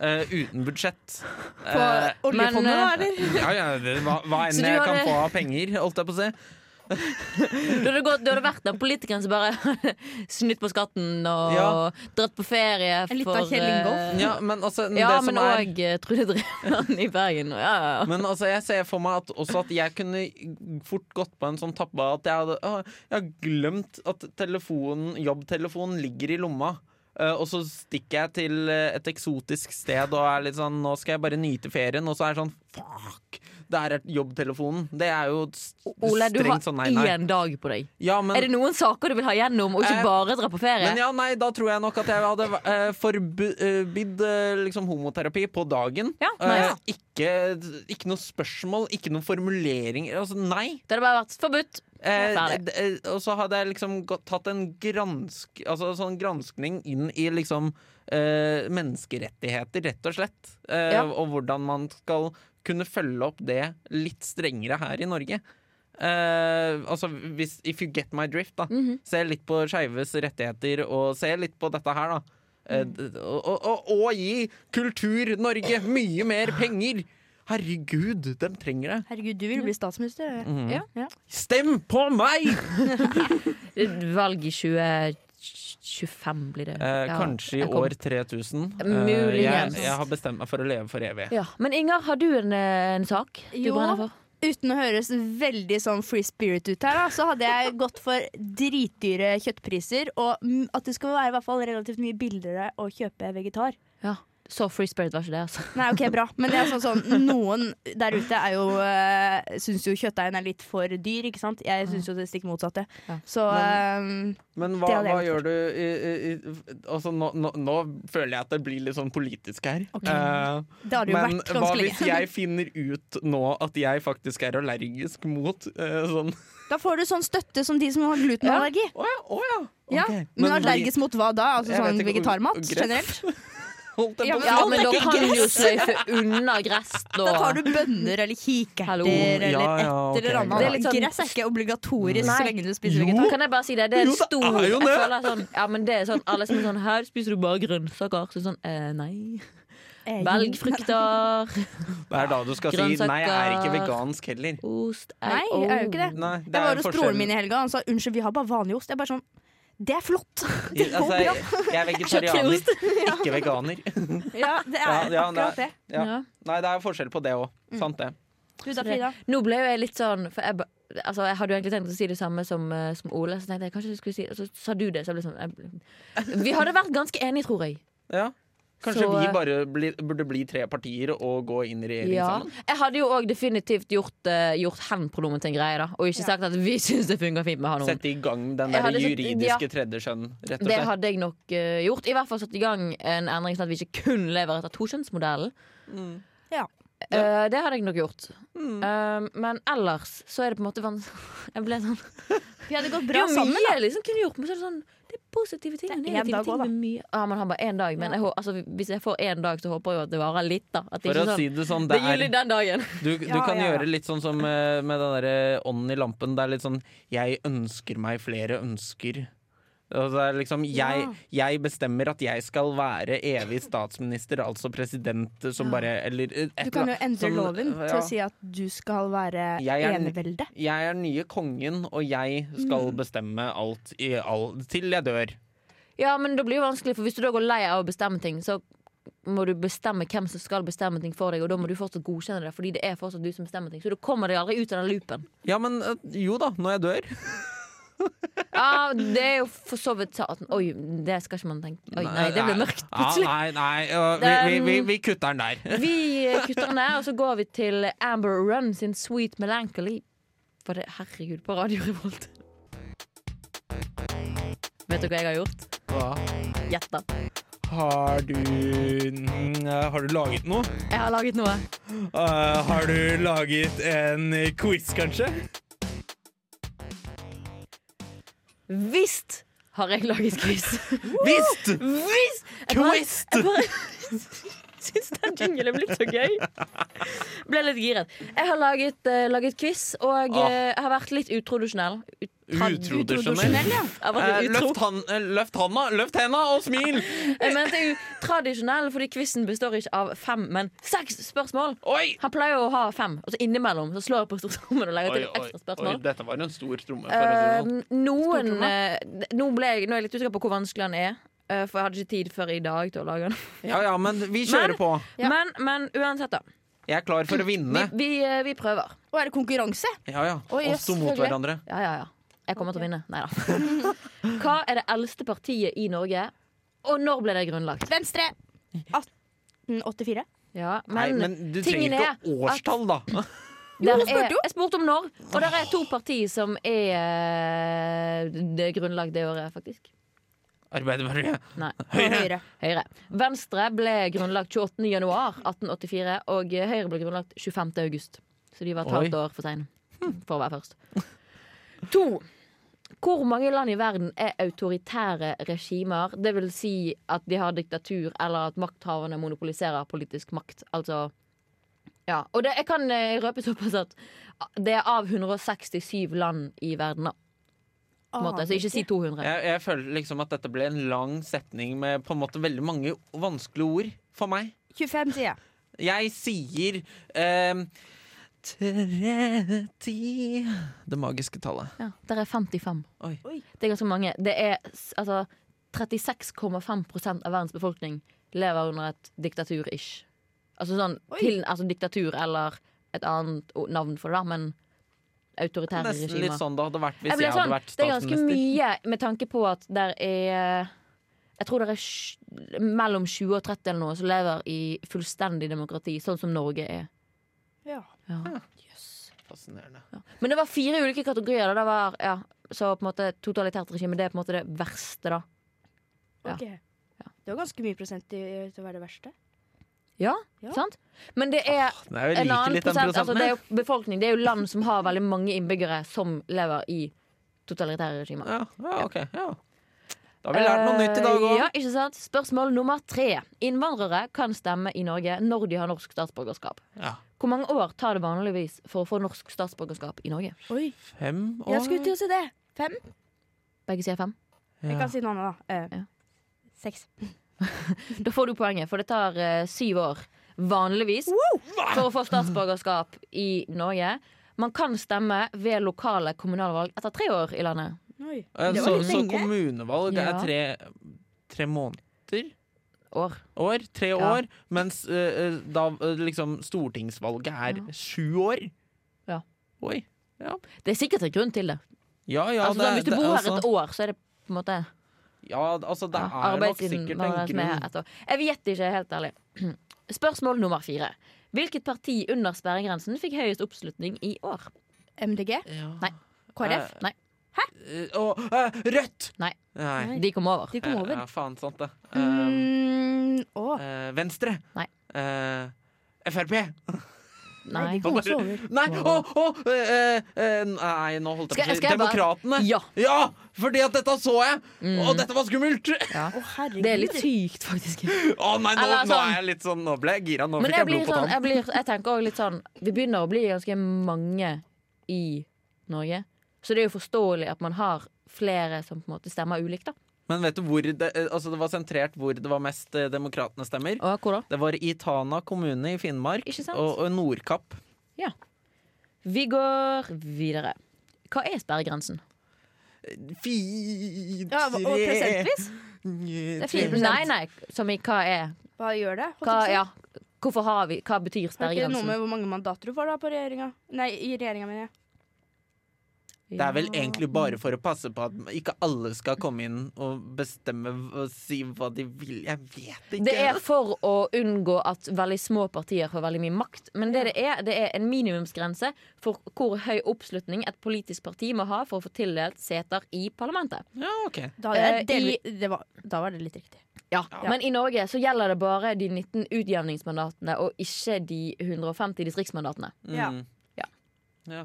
Speaker 2: eh, uten budsjett.
Speaker 4: På
Speaker 2: Eh,
Speaker 1: men,
Speaker 4: oljefondet,
Speaker 1: eh,
Speaker 4: da, eller?
Speaker 2: ja, ja, det- hva, hva
Speaker 1: Så du
Speaker 2: enn jeg kan
Speaker 1: hadde-
Speaker 2: få av penger, holdt jeg på å si.
Speaker 1: Du hadde, gått, du hadde vært den politikeren som bare snytt på skatten og
Speaker 2: Ja.
Speaker 1: dratt på ferie
Speaker 4: En litt
Speaker 1: for,
Speaker 4: av Kjell Ingolf.
Speaker 1: eh,
Speaker 2: Ja, men altså,
Speaker 1: Ja,
Speaker 2: det som
Speaker 1: men
Speaker 2: er
Speaker 1: òg Trude Drevland i Bergen. og Ja, ja, ja.
Speaker 2: Men altså, jeg ser for meg at også at jeg kunne fort gått på en sånn tabbe at jeg hadde «Å, Jeg har glemt at telefonen, jobbtelefonen ligger i lomma. Eh, og så stikker jeg til eh, et eksotisk sted og er litt sånn Nå skal jeg bare nyte ferien. Og så er det sånn Fuck! Der er jobbtelefonen. Det er jo s-
Speaker 1: Ole, du har
Speaker 2: strengt sånn nei, nei.
Speaker 1: én dag på deg.
Speaker 2: Ja, men,
Speaker 1: Er det noen saker du vil ha gjennom, og
Speaker 2: Eh,
Speaker 1: ikke bare dra på ferie?
Speaker 2: men ja, nei, da tror jeg nok at jeg hadde eh, forbudt eh, liksom homoterapi på dagen.
Speaker 1: Ja,
Speaker 2: Eh,
Speaker 1: nice.
Speaker 2: ikke, ikke noe spørsmål, ikke noen formuleringer. Altså, nei.
Speaker 1: Det hadde bare vært forbudt.
Speaker 2: Eh,
Speaker 1: Ferdig.
Speaker 2: d- eh, og så hadde jeg liksom gått, tatt en gransk, altså sånn granskning inn i liksom eh, menneskerettigheter, rett og slett. Eh,
Speaker 1: Ja.
Speaker 2: Og hvordan man skal kunne følge opp det litt strengere her i Norge. Eh, altså hvis, If you get my drift, da.
Speaker 1: Mhm.
Speaker 2: Se litt på skeives rettigheter, og se litt på dette her, da. Eh,
Speaker 1: Mhm.
Speaker 2: d- og, og, og, og gi Kultur-Norge mye mer penger! Herregud, de trenger det.
Speaker 4: Herregud, du vil bli statsminister. du.
Speaker 2: Mhm.
Speaker 1: Ja.
Speaker 4: Ja.
Speaker 2: Stem på meg!
Speaker 1: Valg i 2025 blir det.
Speaker 2: Eh,
Speaker 1: Ja,
Speaker 2: kanskje i
Speaker 1: jeg kom.
Speaker 2: år 3000. Eh,
Speaker 1: Muligens.
Speaker 2: jeg, jeg har bestemt meg for å leve for evig.
Speaker 1: Ja. Men Inger, har du en, eh, en sak du
Speaker 4: Jo.
Speaker 1: brenner for?
Speaker 4: Uten å høres veldig sånn free spirit ut her, da, så hadde jeg gått for dritdyre kjøttpriser. Og mm, at det skal være i hvert fall relativt mye billigere å kjøpe vegetar.
Speaker 1: Ja. Så free spirit var ikke det, altså.
Speaker 4: Nei, ok, bra. Men det er sånn, sånn noen der ute er jo øh, syns jo kjøttdeigen er litt for dyr, ikke sant? Jeg syns jo det stikk motsatte.
Speaker 1: Ja.
Speaker 4: Så ehm, øhm,
Speaker 2: Men hva,
Speaker 4: Det hadde jeg
Speaker 2: hva
Speaker 4: gjort.
Speaker 2: gjør du i, i, i, altså, nå, nå, nå føler jeg at det blir litt sånn politisk her. Eh,
Speaker 4: det hadde jo
Speaker 2: men
Speaker 4: vært
Speaker 2: hva
Speaker 4: ganske
Speaker 2: hvis
Speaker 4: lenge.
Speaker 2: jeg finner ut nå at jeg faktisk er allergisk mot eh, sånn
Speaker 4: Da får du sånn støtte som de som har glutenallergi.
Speaker 2: Å ja! å ja.
Speaker 4: Ja,
Speaker 2: Ok.
Speaker 4: Men allergisk mot hva da? Altså
Speaker 2: Jeg vet
Speaker 4: sånn
Speaker 2: ikke,
Speaker 4: vegetarmat
Speaker 2: gress?
Speaker 4: generelt?
Speaker 2: Holdt jeg
Speaker 4: Ja,
Speaker 2: på sånn. å
Speaker 1: Ja,
Speaker 2: si.
Speaker 1: men da kan du jo sløyfe unna gress, da.
Speaker 4: Da tar du bønner eller
Speaker 1: Hallo.
Speaker 4: kikerter eller et
Speaker 2: Ja, ja, ok,
Speaker 4: eller annet.
Speaker 1: Det er litt sånn-
Speaker 4: Gress er ikke obligatorisk
Speaker 1: Nei.
Speaker 4: så lenge du spiser
Speaker 2: Jo.
Speaker 4: vegetar.
Speaker 1: Kan jeg bare si det? Det er
Speaker 2: Jo,
Speaker 1: en
Speaker 2: det
Speaker 1: stor
Speaker 2: er jo
Speaker 1: jeg
Speaker 2: det.
Speaker 1: føler sånn, ja, men det er sånn, Alle som er sånn Her spiser du bare grønnsaker. Så sånn, eh, nei.
Speaker 4: Eh,
Speaker 1: Velg frukter.
Speaker 2: Det er da du skal si nei, jeg er ikke vegansk heller.
Speaker 1: Ost.
Speaker 4: Oh, Nei, jeg er jo ikke det.
Speaker 2: Nei, det
Speaker 4: Jeg
Speaker 2: er
Speaker 4: var hos
Speaker 2: forskjellen.
Speaker 4: broren min i helga, han sa unnskyld, vi har bare vanlig ost. Jeg er bare sånn Det er flott! Det går
Speaker 2: Altså,
Speaker 4: bra.
Speaker 2: jeg er vegetarianer, ikke veganer.
Speaker 4: Ja, det
Speaker 2: Ja,
Speaker 4: er
Speaker 2: ja,
Speaker 4: akkurat det.
Speaker 2: Ja.
Speaker 1: Ja.
Speaker 2: Nei, det er forskjell på det òg. Sant det.
Speaker 4: Du da, Frida?
Speaker 1: Nå ble jo jeg litt sånn For jeg, ba- altså, jeg hadde jo egentlig tenkt å si det samme som, eh, som Ole, så tenkte jeg kanskje du skulle si Og så sa du det, så jeg ble sånn jeg, ble- Vi hadde vært ganske enige, tror jeg.
Speaker 2: Ja.
Speaker 1: Så,
Speaker 2: Kanskje vi
Speaker 1: eh,
Speaker 2: bare bli, burde bli tre partier og gå inn i regjering
Speaker 1: Ja.
Speaker 2: sammen?
Speaker 1: Jeg hadde jo òg definitivt gjort, uh, gjort hen-pronomen til en greie, da. Og ikke sagt at vi syns det fungerer fint med å ha noen.
Speaker 2: Sette i gang den
Speaker 1: Jeg
Speaker 2: der
Speaker 1: hadde sett-
Speaker 2: juridiske tredje skjønn, rett og
Speaker 1: Det
Speaker 2: slett.
Speaker 1: hadde jeg nok eh, gjort. I hvert fall satt i gang en endring sånn at vi ikke kun lever etter tokjønnsmodellen.
Speaker 4: Mm. Ja. Mm.
Speaker 1: Eh, det hadde jeg nok gjort. Eh, men ellers så er det på en måte vanskelig Jeg ble sånn
Speaker 4: Vi hadde gått
Speaker 1: det er jo mye jeg liksom kunne gjort, men så er det sånn Det er positive ting.
Speaker 4: Det er
Speaker 1: og
Speaker 4: en
Speaker 1: negative
Speaker 4: dag
Speaker 1: ting
Speaker 4: også, da.
Speaker 1: med mye. Ja, man har bare én dag, men jeg, hå- altså, hvis jeg får én dag, så håper jeg jo at det varer litt, da. At det
Speaker 2: For
Speaker 1: ikke
Speaker 2: å
Speaker 1: er sånn
Speaker 2: si det sånn,
Speaker 1: Det
Speaker 2: det
Speaker 1: er jul
Speaker 2: er
Speaker 1: i den dagen.
Speaker 2: Du, du
Speaker 4: Ja,
Speaker 2: kan
Speaker 4: ja, ja.
Speaker 2: gjøre litt sånn som eh, med den derre ånden i lampen. Det er litt sånn 'jeg ønsker meg flere ønsker'. Altså, det er liksom, jeg, jeg bestemmer at jeg skal være evig statsminister, altså president som bare Eller eh, et
Speaker 4: Du kan jo
Speaker 2: eller annet
Speaker 4: endre
Speaker 2: sånn,
Speaker 4: loven
Speaker 2: ja.
Speaker 4: til å si at du skal være
Speaker 2: Jeg er-
Speaker 4: enevelde.
Speaker 2: Jeg er den nye kongen, og jeg skal bestemme alt i all Til jeg dør.
Speaker 1: Ja, men det blir jo vanskelig, for hvis du da går lei av å bestemme ting, så må du bestemme hvem som skal bestemme ting for deg, og da må du fortsatt godkjenne det, fordi det er fortsatt du som bestemmer ting. Så du kommer deg aldri ut av den loopen.
Speaker 2: Ja, men eh, jo da, når jeg dør.
Speaker 1: Ja, det er jo for så vidt sant. Oi, det skal ikke man tenke Oi, nei, det ble mørkt
Speaker 2: Ja,
Speaker 1: plutselig.
Speaker 2: nei, nei, ja, vi, vi, vi,
Speaker 1: Den-
Speaker 2: vi kutter den der.
Speaker 1: Vi eh, kutter den der, og så går vi til Amber Run sin Sweet Melancholy. For det, herregud, på Radio Revolt. Vet dere hva jeg har gjort?
Speaker 2: Ja.
Speaker 1: Gjett da.
Speaker 2: Har du mm, Har du laget noe?
Speaker 1: Jeg har laget noe.
Speaker 2: Eh, har du laget en quiz, kanskje?
Speaker 1: Visst har jeg laget quiz.
Speaker 2: Visst!
Speaker 1: Visst! Jeg bare-
Speaker 2: Quiz!
Speaker 1: Jeg bare syns den jingelen er blitt så gøy. Ble litt giret. Jeg har laget, eh, laget quiz, og
Speaker 2: Ah.
Speaker 1: eh, jeg har vært litt utrodusjonell. Ut,
Speaker 2: Utrodisjonell.
Speaker 4: ja.
Speaker 1: jeg har
Speaker 2: Eh,
Speaker 1: vært litt utro.
Speaker 2: løft, han, eh, løft handa løft henda og smil!
Speaker 1: Jeg mente jo tradisjonell, fordi quizen består ikke av fem, men seks spørsmål.
Speaker 2: Oi!
Speaker 1: Han pleier å ha fem, og så innimellom så slår jeg på stortrommen og legger
Speaker 2: Oi,
Speaker 1: til
Speaker 2: oi,
Speaker 1: ekstra
Speaker 2: oi,
Speaker 1: spørsmål.
Speaker 2: dette var en stor tromme. For å si
Speaker 1: Eh,
Speaker 2: det sånn.
Speaker 1: noen eh, nå, ble jeg, nå er jeg litt usikker på hvor vanskelig han er, eh, for jeg hadde ikke tid før i dag til å lage den.
Speaker 2: Ja ja, men vi kjører
Speaker 1: Men-
Speaker 2: på.
Speaker 4: Ja.
Speaker 1: Men, men uansett, da.
Speaker 2: Jeg er klar for å
Speaker 1: Vi,
Speaker 2: vinne.
Speaker 1: vi, eh, vi prøver.
Speaker 4: Og er det konkurranse?
Speaker 2: Ja ja.
Speaker 4: Oi,
Speaker 2: Oss to
Speaker 4: jøss,
Speaker 2: mot
Speaker 4: selvfølgelig.
Speaker 2: hverandre.
Speaker 1: Ja, ja, ja. Jeg kommer til å vinne. Nei da. Hva er det eldste partiet i Norge, og når ble det grunnlagt?
Speaker 4: Venstre. 1884.
Speaker 1: Ja, men,
Speaker 2: Nei, men du
Speaker 1: tingen
Speaker 2: trenger
Speaker 1: er
Speaker 2: ikke årstall, da.
Speaker 1: Der
Speaker 4: hun spurte
Speaker 1: er,
Speaker 4: jo.
Speaker 1: jeg spurte om når, og der er to partier som er eh, det grunnlag det året, faktisk.
Speaker 2: Arbeiderpartiet.
Speaker 1: Nei.
Speaker 4: Høyre.
Speaker 1: Høyre. Venstre ble grunnlagt 28. januar 1884, og Høyre ble grunnlagt 25. august. Så de var et
Speaker 2: Oi.
Speaker 1: halvt år for seine for å være først. To. Hvor mange land i verden er autoritære regimer? Det vil si at de har diktatur, eller at makthaverne monopoliserer politisk makt. Altså Ja. Og det, jeg kan eh, røpe såpass at det er av 167 land i verden, da. På en måte.
Speaker 4: Ah,
Speaker 1: Så ikke si 200.
Speaker 2: Jeg, jeg føler liksom at dette ble en lang setning med på en måte veldig mange vanskelige ord for meg.
Speaker 4: 25, sier jeg.
Speaker 2: Jeg sier um, 30 Det magiske tallet.
Speaker 1: Ja, der er 55.
Speaker 2: Oi.
Speaker 4: Oi.
Speaker 1: Det er ganske mange. Det er s- altså 36,5 av verdens befolkning lever under et diktatur-ish. Altså sånn
Speaker 4: Oi.
Speaker 1: til, altså diktatur eller et annet o- navn for det, da, men autoritære
Speaker 2: Nesten litt
Speaker 1: regimer.
Speaker 2: sånn det hadde vært hvis
Speaker 1: Jeg
Speaker 2: jeg,
Speaker 1: ble sånn,
Speaker 2: hadde vært
Speaker 1: det er ganske
Speaker 2: statsminister.
Speaker 1: mye med tanke på at der er Jeg tror det er sj- mellom 20 og 30 eller noe som lever i fullstendig demokrati, sånn som Norge er.
Speaker 4: Ja.
Speaker 1: Ja.
Speaker 2: Hm. Fascinerende.
Speaker 1: Men det var fire ulike kategorier. Da. Det var, ja, så på en måte totalitært regime det er på en måte det verste, da. Ja.
Speaker 4: Ok. Det var ganske mye prosent i, til å være det verste.
Speaker 1: Ja,
Speaker 4: Ja.
Speaker 1: sant? Men det er
Speaker 2: Nei, Ah, jeg
Speaker 1: en
Speaker 2: liker
Speaker 1: annen
Speaker 2: litt den
Speaker 1: prosent. Altså,
Speaker 2: prosenten.
Speaker 1: det er jo befolkning. Det er jo land som har veldig mange innbyggere som lever i totalitære regimer.
Speaker 2: ja, ja, ok. Ja. Da har vi lært noe nytt i dag
Speaker 1: Eh,
Speaker 2: òg.
Speaker 1: Ja, ikke sant? Spørsmål nummer tre. Innvandrere kan stemme i Norge når de har norsk statsborgerskap.
Speaker 2: Ja.
Speaker 1: Hvor mange år tar det vanligvis for å få norsk statsborgerskap i Norge?
Speaker 4: Oi,
Speaker 2: Fem
Speaker 4: jeg
Speaker 2: år.
Speaker 4: skulle til å si det. Fem?
Speaker 1: Begge sier fem.
Speaker 4: Jeg
Speaker 2: Ja.
Speaker 4: kan si noe annet, da. Eh,
Speaker 1: Ja.
Speaker 4: Seks.
Speaker 1: Da får du poenget, for det tar eh, syv år vanligvis for å få statsborgerskap i Norge. Man kan stemme ved lokale kommunalvalg etter tre år i landet.
Speaker 4: Oi.
Speaker 2: Eh,
Speaker 4: Det
Speaker 2: Så,
Speaker 4: var litt
Speaker 2: så
Speaker 4: lenge.
Speaker 2: kommunevalg er
Speaker 1: Ja.
Speaker 2: tre, tre måneder?
Speaker 1: År.
Speaker 2: År, tre
Speaker 1: Ja.
Speaker 2: år, mens eh, eh, da eh, liksom stortingsvalget er
Speaker 1: Ja.
Speaker 2: sju år.
Speaker 1: Ja.
Speaker 2: Oi. Ja,
Speaker 1: Det er sikkert en grunn til det.
Speaker 2: ja, ja
Speaker 1: altså, sånn, hvis
Speaker 2: det-
Speaker 1: du
Speaker 2: det-
Speaker 1: bor her
Speaker 2: altså-
Speaker 1: et år, så er det på en måte
Speaker 2: Ja, altså det
Speaker 1: ja,
Speaker 2: er nok sikkert en
Speaker 1: arbeidsinnvandrere som er her
Speaker 2: grunn.
Speaker 1: et år. Jeg vet ikke, helt ærlig. Spørsmål nummer fire. Hvilket parti under sperregrensen fikk høyest oppslutning i år?
Speaker 4: MDG?
Speaker 2: Ja.
Speaker 1: Nei.
Speaker 4: KrF?
Speaker 1: Nei.
Speaker 2: Eh, Og eh, Rødt!
Speaker 1: Nei.
Speaker 2: Nei. Eh,
Speaker 1: De kom over. Eh,
Speaker 4: De kom over.
Speaker 2: Ja, faen sant det.
Speaker 4: Mm, å,
Speaker 2: Eh, eh, venstre.
Speaker 1: Nei.
Speaker 2: Eh, Frp.
Speaker 1: Nei.
Speaker 2: Han bare, nei, å, å, eh, eh, nei, nå holdt
Speaker 1: Skal
Speaker 2: jeg
Speaker 1: jeg-
Speaker 2: på å
Speaker 1: skal
Speaker 2: si
Speaker 1: jeg bare-
Speaker 2: Demokratene.
Speaker 1: Ja.
Speaker 2: ja! Fordi at dette så jeg! Og
Speaker 1: Mm.
Speaker 2: dette var skummelt!
Speaker 6: Å, herregud.
Speaker 1: Det er litt sykt, faktisk.
Speaker 2: Å nei, nå,
Speaker 1: Eller
Speaker 2: nå
Speaker 1: sånn-
Speaker 2: er jeg litt sånn Nå ble jeg gira. Nå
Speaker 1: Men
Speaker 2: fikk
Speaker 1: jeg,
Speaker 2: jeg
Speaker 1: blir
Speaker 2: blod på
Speaker 1: sånn,
Speaker 2: tann.
Speaker 1: jeg, blir, jeg tenker også litt sånn Vi begynner å bli ganske mange i Norge. Så det er jo forståelig at man har flere som på en måte stemmer ulikt. da
Speaker 2: Men vet du hvor det, eh, altså det var sentrert hvor det var mest eh, demokratene stemmer?
Speaker 1: Og hvor da?
Speaker 2: Det var i Tana kommune i Finnmark
Speaker 1: Ikke sant?
Speaker 2: og, og Nordkapp.
Speaker 1: Vi går videre. Hva er sperregrensen?
Speaker 2: Fire
Speaker 6: Ja, og prosentvis?
Speaker 1: Det er 4%. Nei, nei, som i hva er
Speaker 6: Hva gjør det?
Speaker 1: hva, ja, Hvorfor har vi Hva betyr
Speaker 6: Har ikke det noe
Speaker 1: sperregrensen?
Speaker 6: med hvor mange mandater du får da på regjeringa? Nei, i regjeringa, mener jeg.
Speaker 2: Det er vel egentlig bare for å passe på at ikke alle skal komme inn og bestemme og si hva de vil. Jeg vet ikke.
Speaker 1: Det er for å unngå at veldig små partier får veldig mye makt. Men det det er, det er en minimumsgrense for hvor høy oppslutning et politisk parti må ha for å få tildelt seter i parlamentet.
Speaker 2: Ja, ok.
Speaker 6: Da, hadde jeg
Speaker 1: Eh,
Speaker 6: delvis- det var, da var det litt riktig.
Speaker 1: Men i Norge så gjelder det bare de 19 utjevningsmandatene og ikke de 150 distriktsmandatene.
Speaker 6: Ja.
Speaker 2: Mm.
Speaker 1: Ja.
Speaker 2: Ja.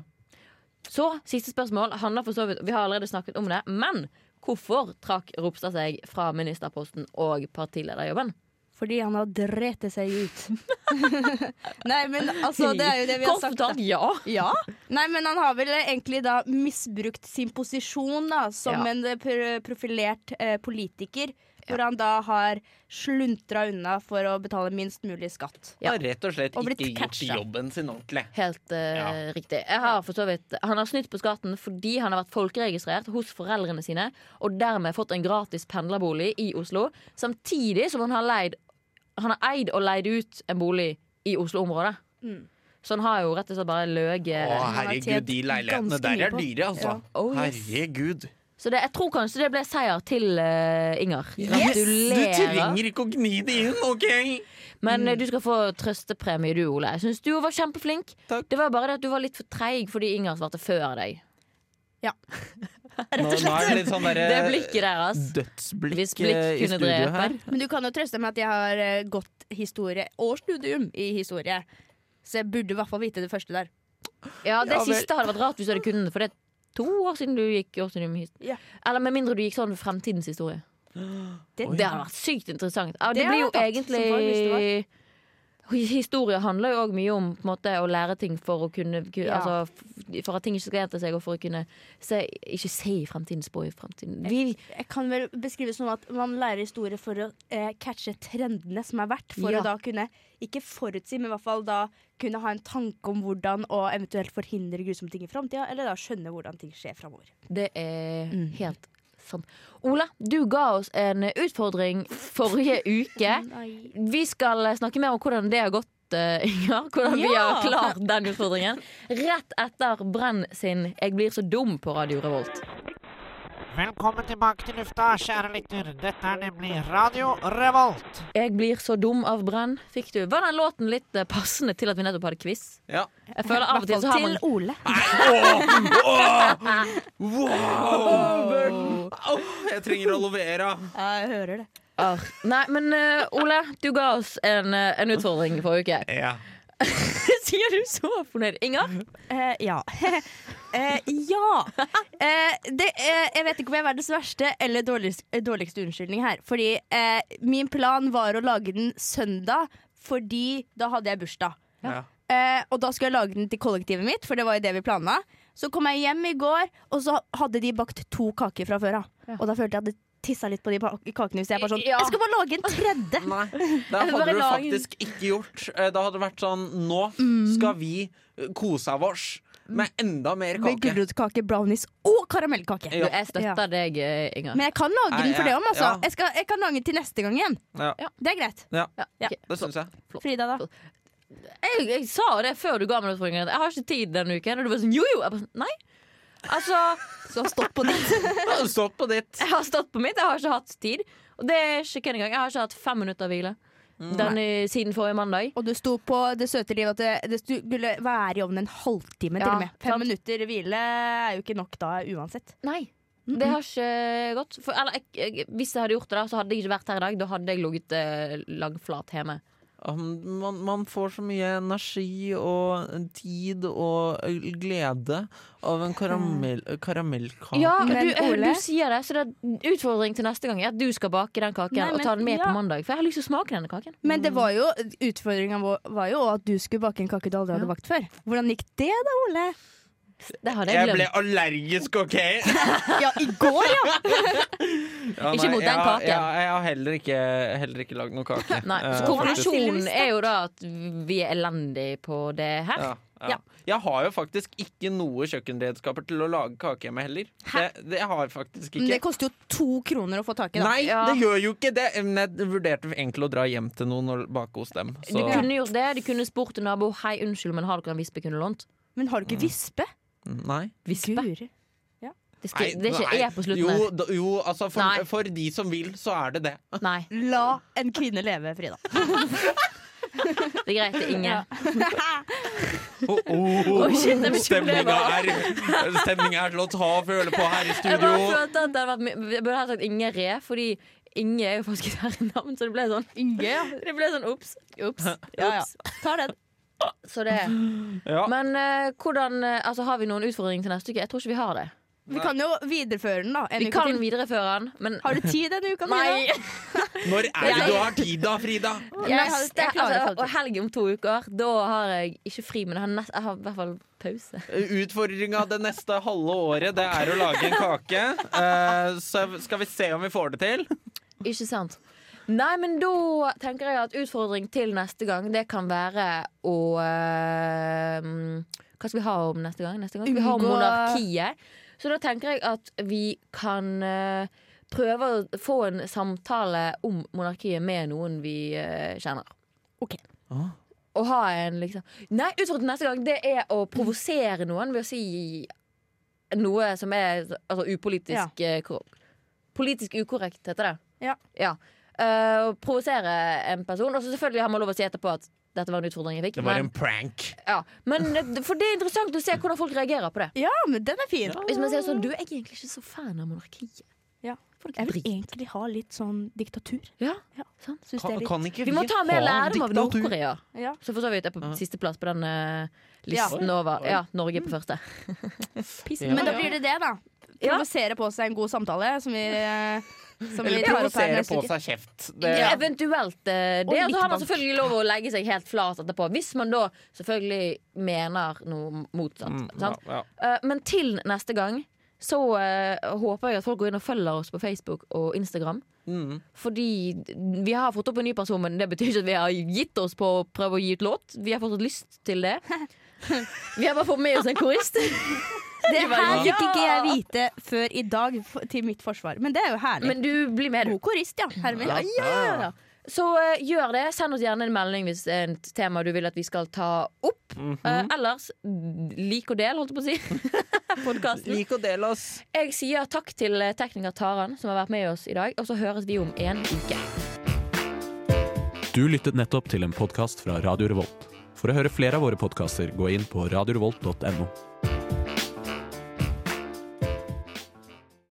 Speaker 2: for
Speaker 1: Så siste spørsmål handler for så vidt Vi har allerede snakket om det, men hvorfor trakk Ropstad seg fra ministerposten og partilederjobben?
Speaker 6: Fordi han har drept seg ut. Nei, men altså, det er jo det vi har
Speaker 1: Kort
Speaker 6: sagt. da.
Speaker 1: fortalt, ja.
Speaker 6: Ja. Nei, men han har vel egentlig da misbrukt sin posisjon da, som
Speaker 1: Ja.
Speaker 6: en eh, pro- profilert eh, politiker. Hvor han da har sluntra unna for å betale minst mulig skatt.
Speaker 1: Ja.
Speaker 2: Har rett og slett
Speaker 6: Og blitt
Speaker 2: ikke gjort
Speaker 6: catcha.
Speaker 2: jobben sin ordentlig.
Speaker 1: Helt eh,
Speaker 2: Ja.
Speaker 1: riktig. Jeg har for så vidt, han har snytt på skatten fordi han har vært folkeregistrert hos foreldrene sine og dermed fått en gratis pendlerbolig i Oslo, samtidig som han har, leid, han har eid og leid ut en bolig i Oslo-området.
Speaker 6: Mm.
Speaker 1: Så han har jo rett og slett bare
Speaker 2: Å,
Speaker 1: løyet.
Speaker 6: har
Speaker 2: herregud,
Speaker 6: tjent
Speaker 2: de leilighetene
Speaker 6: ganske
Speaker 2: der
Speaker 6: mye
Speaker 2: er
Speaker 6: på.
Speaker 2: dyre, altså.
Speaker 6: Ja.
Speaker 1: Oh, yes.
Speaker 2: Herregud.
Speaker 1: Så det, jeg tror kanskje det ble seier til eh, Inger.
Speaker 2: Du trenger ikke å gni det inn, OK?
Speaker 1: Men
Speaker 2: Mm.
Speaker 1: eh, du skal få trøstepremie du, Ole. Jeg syns du var kjempeflink.
Speaker 2: Takk.
Speaker 1: Det var bare det at du var litt for treig fordi Inger svarte før deg.
Speaker 2: Nå, nå er det litt sånn derre
Speaker 1: Det blikket der, ass.
Speaker 2: dødsblikk
Speaker 1: Hvis blikk
Speaker 2: eh, i
Speaker 1: kunne
Speaker 2: studio
Speaker 1: drepe.
Speaker 2: her.
Speaker 6: Men du kan jo trøste med at jeg har eh, gått historie og studium i historie. Så jeg burde i hvert fall vite det første der.
Speaker 1: Ja, det
Speaker 2: Ja, vel.
Speaker 1: siste hadde vært rart hvis du hadde kunnet For det er to år siden du gikk årsstudium hist.
Speaker 6: Ja.
Speaker 1: Eller med mindre du gikk sånn fremtidens historie
Speaker 6: Det-
Speaker 1: Det hadde vært sykt interessant ja, Det,
Speaker 6: Det
Speaker 1: blir jo
Speaker 6: hadde vært som far hvis
Speaker 1: egentlig Historie handler jo også mye om på en måte, Å lære ting for å kunne ku-
Speaker 6: Ja.
Speaker 1: altså, f- For at ting ikke skal gjenta seg Og for å kunne se, ikke se i fremtiden Spå i fremtiden Vi,
Speaker 6: Jeg kan vel beskrive som at man lærer historie for å eh, catche trendene som er verdt. For
Speaker 1: Ja.
Speaker 6: å da kunne, ikke forutsi, men i hvert fall da kunne ha en tanke om hvordan og eventuelt forhindre grusomme ting i framtida. Eller da skjønne hvordan ting skjer framover.
Speaker 1: Det er
Speaker 6: Mm.
Speaker 1: helt sant Ola, du ga oss en utfordring Forrige uke Vi skal eh, snakke mer om hvordan det har gått, eh, Inger. Hvordan vi
Speaker 6: Ja!
Speaker 1: har klart den utfordringen. Rett etter Brenn sin 'Jeg blir så dum' på Radio Revolt.
Speaker 8: Velkommen tilbake til lufta, kjære lytter. Dette er nemlig Radio Revolt.
Speaker 1: 'Jeg blir så dum' av Brenn fikk du. Var den låten litt eh, passende til at vi nettopp hadde quiz?
Speaker 2: Ja.
Speaker 1: Jeg føler av og til så har man
Speaker 6: Ole.
Speaker 2: Au, jeg trenger aloe vera.
Speaker 6: Ja, jeg hører det.
Speaker 1: Arr. Ah, Nei, men eh, Ole, du ga oss en, eh, en utfordring forrige uke.
Speaker 2: Ja.
Speaker 1: Sier du så fornøyd? Inger?
Speaker 6: Eh, ja. Eh, ja. Eh, det, eh, jeg vet ikke om jeg er verdens verste eller dårligst, eh, dårligste unnskyldning her. Fordi eh, min plan var å lage den søndag, fordi da hadde jeg bursdag.
Speaker 2: Ja.
Speaker 6: Eh, og da skulle jeg lage den til kollektivet mitt, for det var jo det vi planla. Så kom jeg hjem i går, og så hadde de bakt to kaker fra før av. Og da følte jeg at det tissa litt på de pa- kakene hvis jeg bare sånn
Speaker 1: Ja.
Speaker 6: Jeg skal bare lage en tredje!
Speaker 2: Nei, det
Speaker 1: bare
Speaker 2: hadde
Speaker 1: lager-
Speaker 2: du
Speaker 1: Mm.
Speaker 2: faktisk ikke gjort. Eh, Da hadde det vært sånn Nå skal vi eh, kose av oss med enda mer
Speaker 6: Med
Speaker 2: kake.
Speaker 6: gulrotkake, brownies og karamellkake.
Speaker 2: Ja.
Speaker 1: Du, jeg støtter deg, eh, Inger.
Speaker 6: Men jeg kan lage den
Speaker 2: Nei,
Speaker 6: for
Speaker 2: ja,
Speaker 6: det om, altså.
Speaker 2: ja.
Speaker 6: Jeg, skal, jeg kan lage den til neste gang igjen.
Speaker 2: Ja,
Speaker 6: Det er greit.
Speaker 1: Ja,
Speaker 6: Ja.
Speaker 1: ok.
Speaker 2: det syns jeg.
Speaker 6: Frida, da?
Speaker 1: jeg, jeg sa det før du ga meg den utfordringen. at Jeg har ikke tid denne uken. Og du var sånn jo, jo. Jeg bare, sånn, nei. Altså,
Speaker 6: Så stått på ditt.
Speaker 2: Stått på ditt.
Speaker 1: jeg har stått på mitt. Jeg har ikke hatt tid. Og det er ikke kødd engang. Jeg har ikke hatt fem minutter hvile denne, siden forrige mandag.
Speaker 6: Og du sto på det søte livet at det, det stu- skulle være i ovnen en halvtime til
Speaker 1: Ja,
Speaker 6: og med. Fem
Speaker 1: sant.
Speaker 6: minutter hvile er jo ikke nok da uansett.
Speaker 1: Nei. Det har ikke gått. For, eller, jeg, jeg, hvis jeg hadde gjort det, da, så hadde jeg ikke vært her i dag. Da hadde jeg ligget eh, langflat hjemme.
Speaker 2: Um, Man, man får så mye energi og eh, tid og eh, glede av en karamell, karamellkake.
Speaker 1: Mm. Ja, du,
Speaker 4: Men
Speaker 1: eh,
Speaker 4: Ole?
Speaker 1: du sier det, så det er utfordring til neste gang er at du skal bake den kaken
Speaker 4: Nei,
Speaker 1: og
Speaker 4: men-
Speaker 1: ta den med
Speaker 4: ja.
Speaker 1: på mandag. For jeg har lyst til å smake denne kaken.
Speaker 4: Men det var jo, utfordringa vår var jo at du skulle bake en kake du aldri hadde bakt før. Hvordan gikk det da, Ole?
Speaker 1: Det hadde jeg glemt.
Speaker 2: allergisk, OK?
Speaker 4: Ja, i går, ja!
Speaker 2: Ja,
Speaker 1: Ikke mot den
Speaker 2: jeg har-
Speaker 1: kaken.
Speaker 2: Jeg, jeg har heller ikke, heller ikke lagd noen kake.
Speaker 1: Nei, så
Speaker 2: eh, faktisk.
Speaker 1: konklusjonen er jo da at vi er elendige på det her.
Speaker 2: Ja, ja. Jeg har jo faktisk ikke noe kjøkkenredskaper til å lage kake med heller. Det, det har jeg faktisk
Speaker 4: Men
Speaker 2: ikke.
Speaker 4: det koster jo to kroner å få tak i, da.
Speaker 2: Nei,
Speaker 1: Ja.
Speaker 2: det gjør jo ikke det! Men jeg vurderte egentlig å dra hjem til noen og bake hos dem.
Speaker 1: Du
Speaker 2: Så
Speaker 1: kunne gjort det, du kunne spurt en nabo Hei, unnskyld, men har dere en vispe jeg kunne lånt?
Speaker 4: Men har du ikke vispe?
Speaker 2: nei.
Speaker 1: Vispe?
Speaker 4: Guri.
Speaker 1: Det, skal, det er
Speaker 2: nei.
Speaker 1: ikke E på slutten
Speaker 2: Jo,
Speaker 1: her.
Speaker 2: da, jo altså
Speaker 1: Nei.
Speaker 2: for, for de som vil, så er det det.
Speaker 1: Nei,
Speaker 4: La en kvinne leve, Frida.
Speaker 1: det er greit, det er Inge.
Speaker 4: Ja.
Speaker 2: Oh,
Speaker 1: Oi, shit, jeg blir ikke
Speaker 2: stemninga
Speaker 1: glad.
Speaker 2: er, stemninga er til å ta og føle på her i
Speaker 1: Jeg bare sånn-
Speaker 2: studio.
Speaker 1: følte at det hadde vært my- Jeg burde ha sagt Inge Re, fordi Inge er jo faktisk et herrenavn, så det ble sånn
Speaker 4: Inge, ja.
Speaker 1: Det ble sånn ops, ops,
Speaker 4: Ja, ja.
Speaker 1: ops. Ta den. Så det
Speaker 2: Ja.
Speaker 1: Men eh, hvordan eh, Altså, har vi noen utfordringer til neste uke? Jeg tror ikke vi har det.
Speaker 4: Vi kan jo videreføre den, da. En
Speaker 1: Vi
Speaker 4: uke
Speaker 1: kan
Speaker 4: til.
Speaker 1: videreføre den, men
Speaker 4: Har du tid denne uka?
Speaker 1: Nei!
Speaker 2: Når er det du har tid da, Frida?
Speaker 4: Jeg,
Speaker 1: Neste,
Speaker 4: jeg
Speaker 1: altså,
Speaker 4: klarer det
Speaker 1: og
Speaker 4: faktisk.
Speaker 1: helg om to uker, da har jeg ikke fri, men jeg har, nest, jeg har i hvert fall pause.
Speaker 2: Utfordringa det neste halve året Det er å lage en kake. Eh, så skal vi se om vi får det til.
Speaker 1: Ikke sant? Nei, men da tenker jeg at utfordring til neste gang, det kan være å eh, mm, Hva skal vi ha om neste gang? Neste gang skal vi ha om
Speaker 4: Unngå-
Speaker 1: monarkiet. Så da tenker jeg at vi kan eh, prøve å få en samtale om monarkiet med noen vi eh, kjenner.
Speaker 4: Ok.
Speaker 2: Ah.
Speaker 1: Å ha en liksom Nei, utfordringen neste gang det er å provosere noen ved å si noe som er altså, upolitisk eh, korrekt. Politisk ukorrekt, heter det.
Speaker 4: Ja.
Speaker 1: Eh, og provosere en person. Og så selvfølgelig har man lov å si etterpå at dette var en utfordring jeg fikk. Men,
Speaker 2: prank.
Speaker 1: ja. men det- for det er interessant å se hvordan folk reagerer på det.
Speaker 4: Ja, men den er fin.
Speaker 1: Hvis man sier sånn Du, jeg er egentlig ikke så fan av monarkiet.
Speaker 4: Ja.
Speaker 1: Folk
Speaker 4: Jeg vil
Speaker 1: driter.
Speaker 4: egentlig ha litt sånn diktatur.
Speaker 1: Ja,
Speaker 4: Ja.
Speaker 1: sant?
Speaker 4: Synes det
Speaker 2: Kan,
Speaker 4: er litt.
Speaker 2: kan ikke
Speaker 1: Vi må ta mer
Speaker 2: ha
Speaker 1: lærdom av
Speaker 2: diktatur?
Speaker 1: Nord-Korea.
Speaker 4: Ja.
Speaker 1: Så for så vidt er på
Speaker 2: Ja.
Speaker 1: sisteplass på den eh, listen over Ja, Norge på første. Pissen.
Speaker 4: Men da blir det det, da.
Speaker 1: Ja.
Speaker 4: Provosere på seg en god samtale, som vi, eh, som vi
Speaker 2: Eller
Speaker 4: tar opp her
Speaker 2: provosere
Speaker 4: neste
Speaker 2: på
Speaker 4: uke.
Speaker 2: seg kjeft. Det,
Speaker 1: Ja. Eventuelt eh, det.
Speaker 4: Og
Speaker 1: Og så har man
Speaker 4: litt
Speaker 1: selvfølgelig lov å legge seg helt flat etterpå. Hvis man da selvfølgelig mener noe motsatt.
Speaker 2: Mm, ja,
Speaker 1: sant?
Speaker 2: ja.
Speaker 1: Eh, men til neste gang så eh, håper jeg at folk går inn og følger oss på Facebook og Instagram.
Speaker 2: Mm.
Speaker 1: Fordi vi har fått opp en ny person, men det betyr ikke at vi har gitt oss på å prøve å gi ut låt. Vi har fortsatt lyst til det. Vi har bare fått med oss en korist.
Speaker 4: Det her
Speaker 1: Ja.
Speaker 4: fikk ikke jeg vite før i dag, f- til mitt forsvar. Men det er jo herlig.
Speaker 1: Men du blir med, du.
Speaker 4: God korist, ja. Herman.
Speaker 2: Ja.
Speaker 1: Ja. Så eh, gjør det. Send oss gjerne en melding hvis det er et tema du vil at vi skal ta opp. Eh, ellers d- lik og del, holdt jeg på å si. Podkasten.
Speaker 2: Lik og del oss.
Speaker 1: Jeg sier takk til eh, tekniker Taran, som har vært med oss i dag. Og så høres vi om en uke.
Speaker 9: Du lyttet nettopp til en podkast fra Radio Revolt. For å høre flere av våre podkaster, gå inn på radiorevolt.no.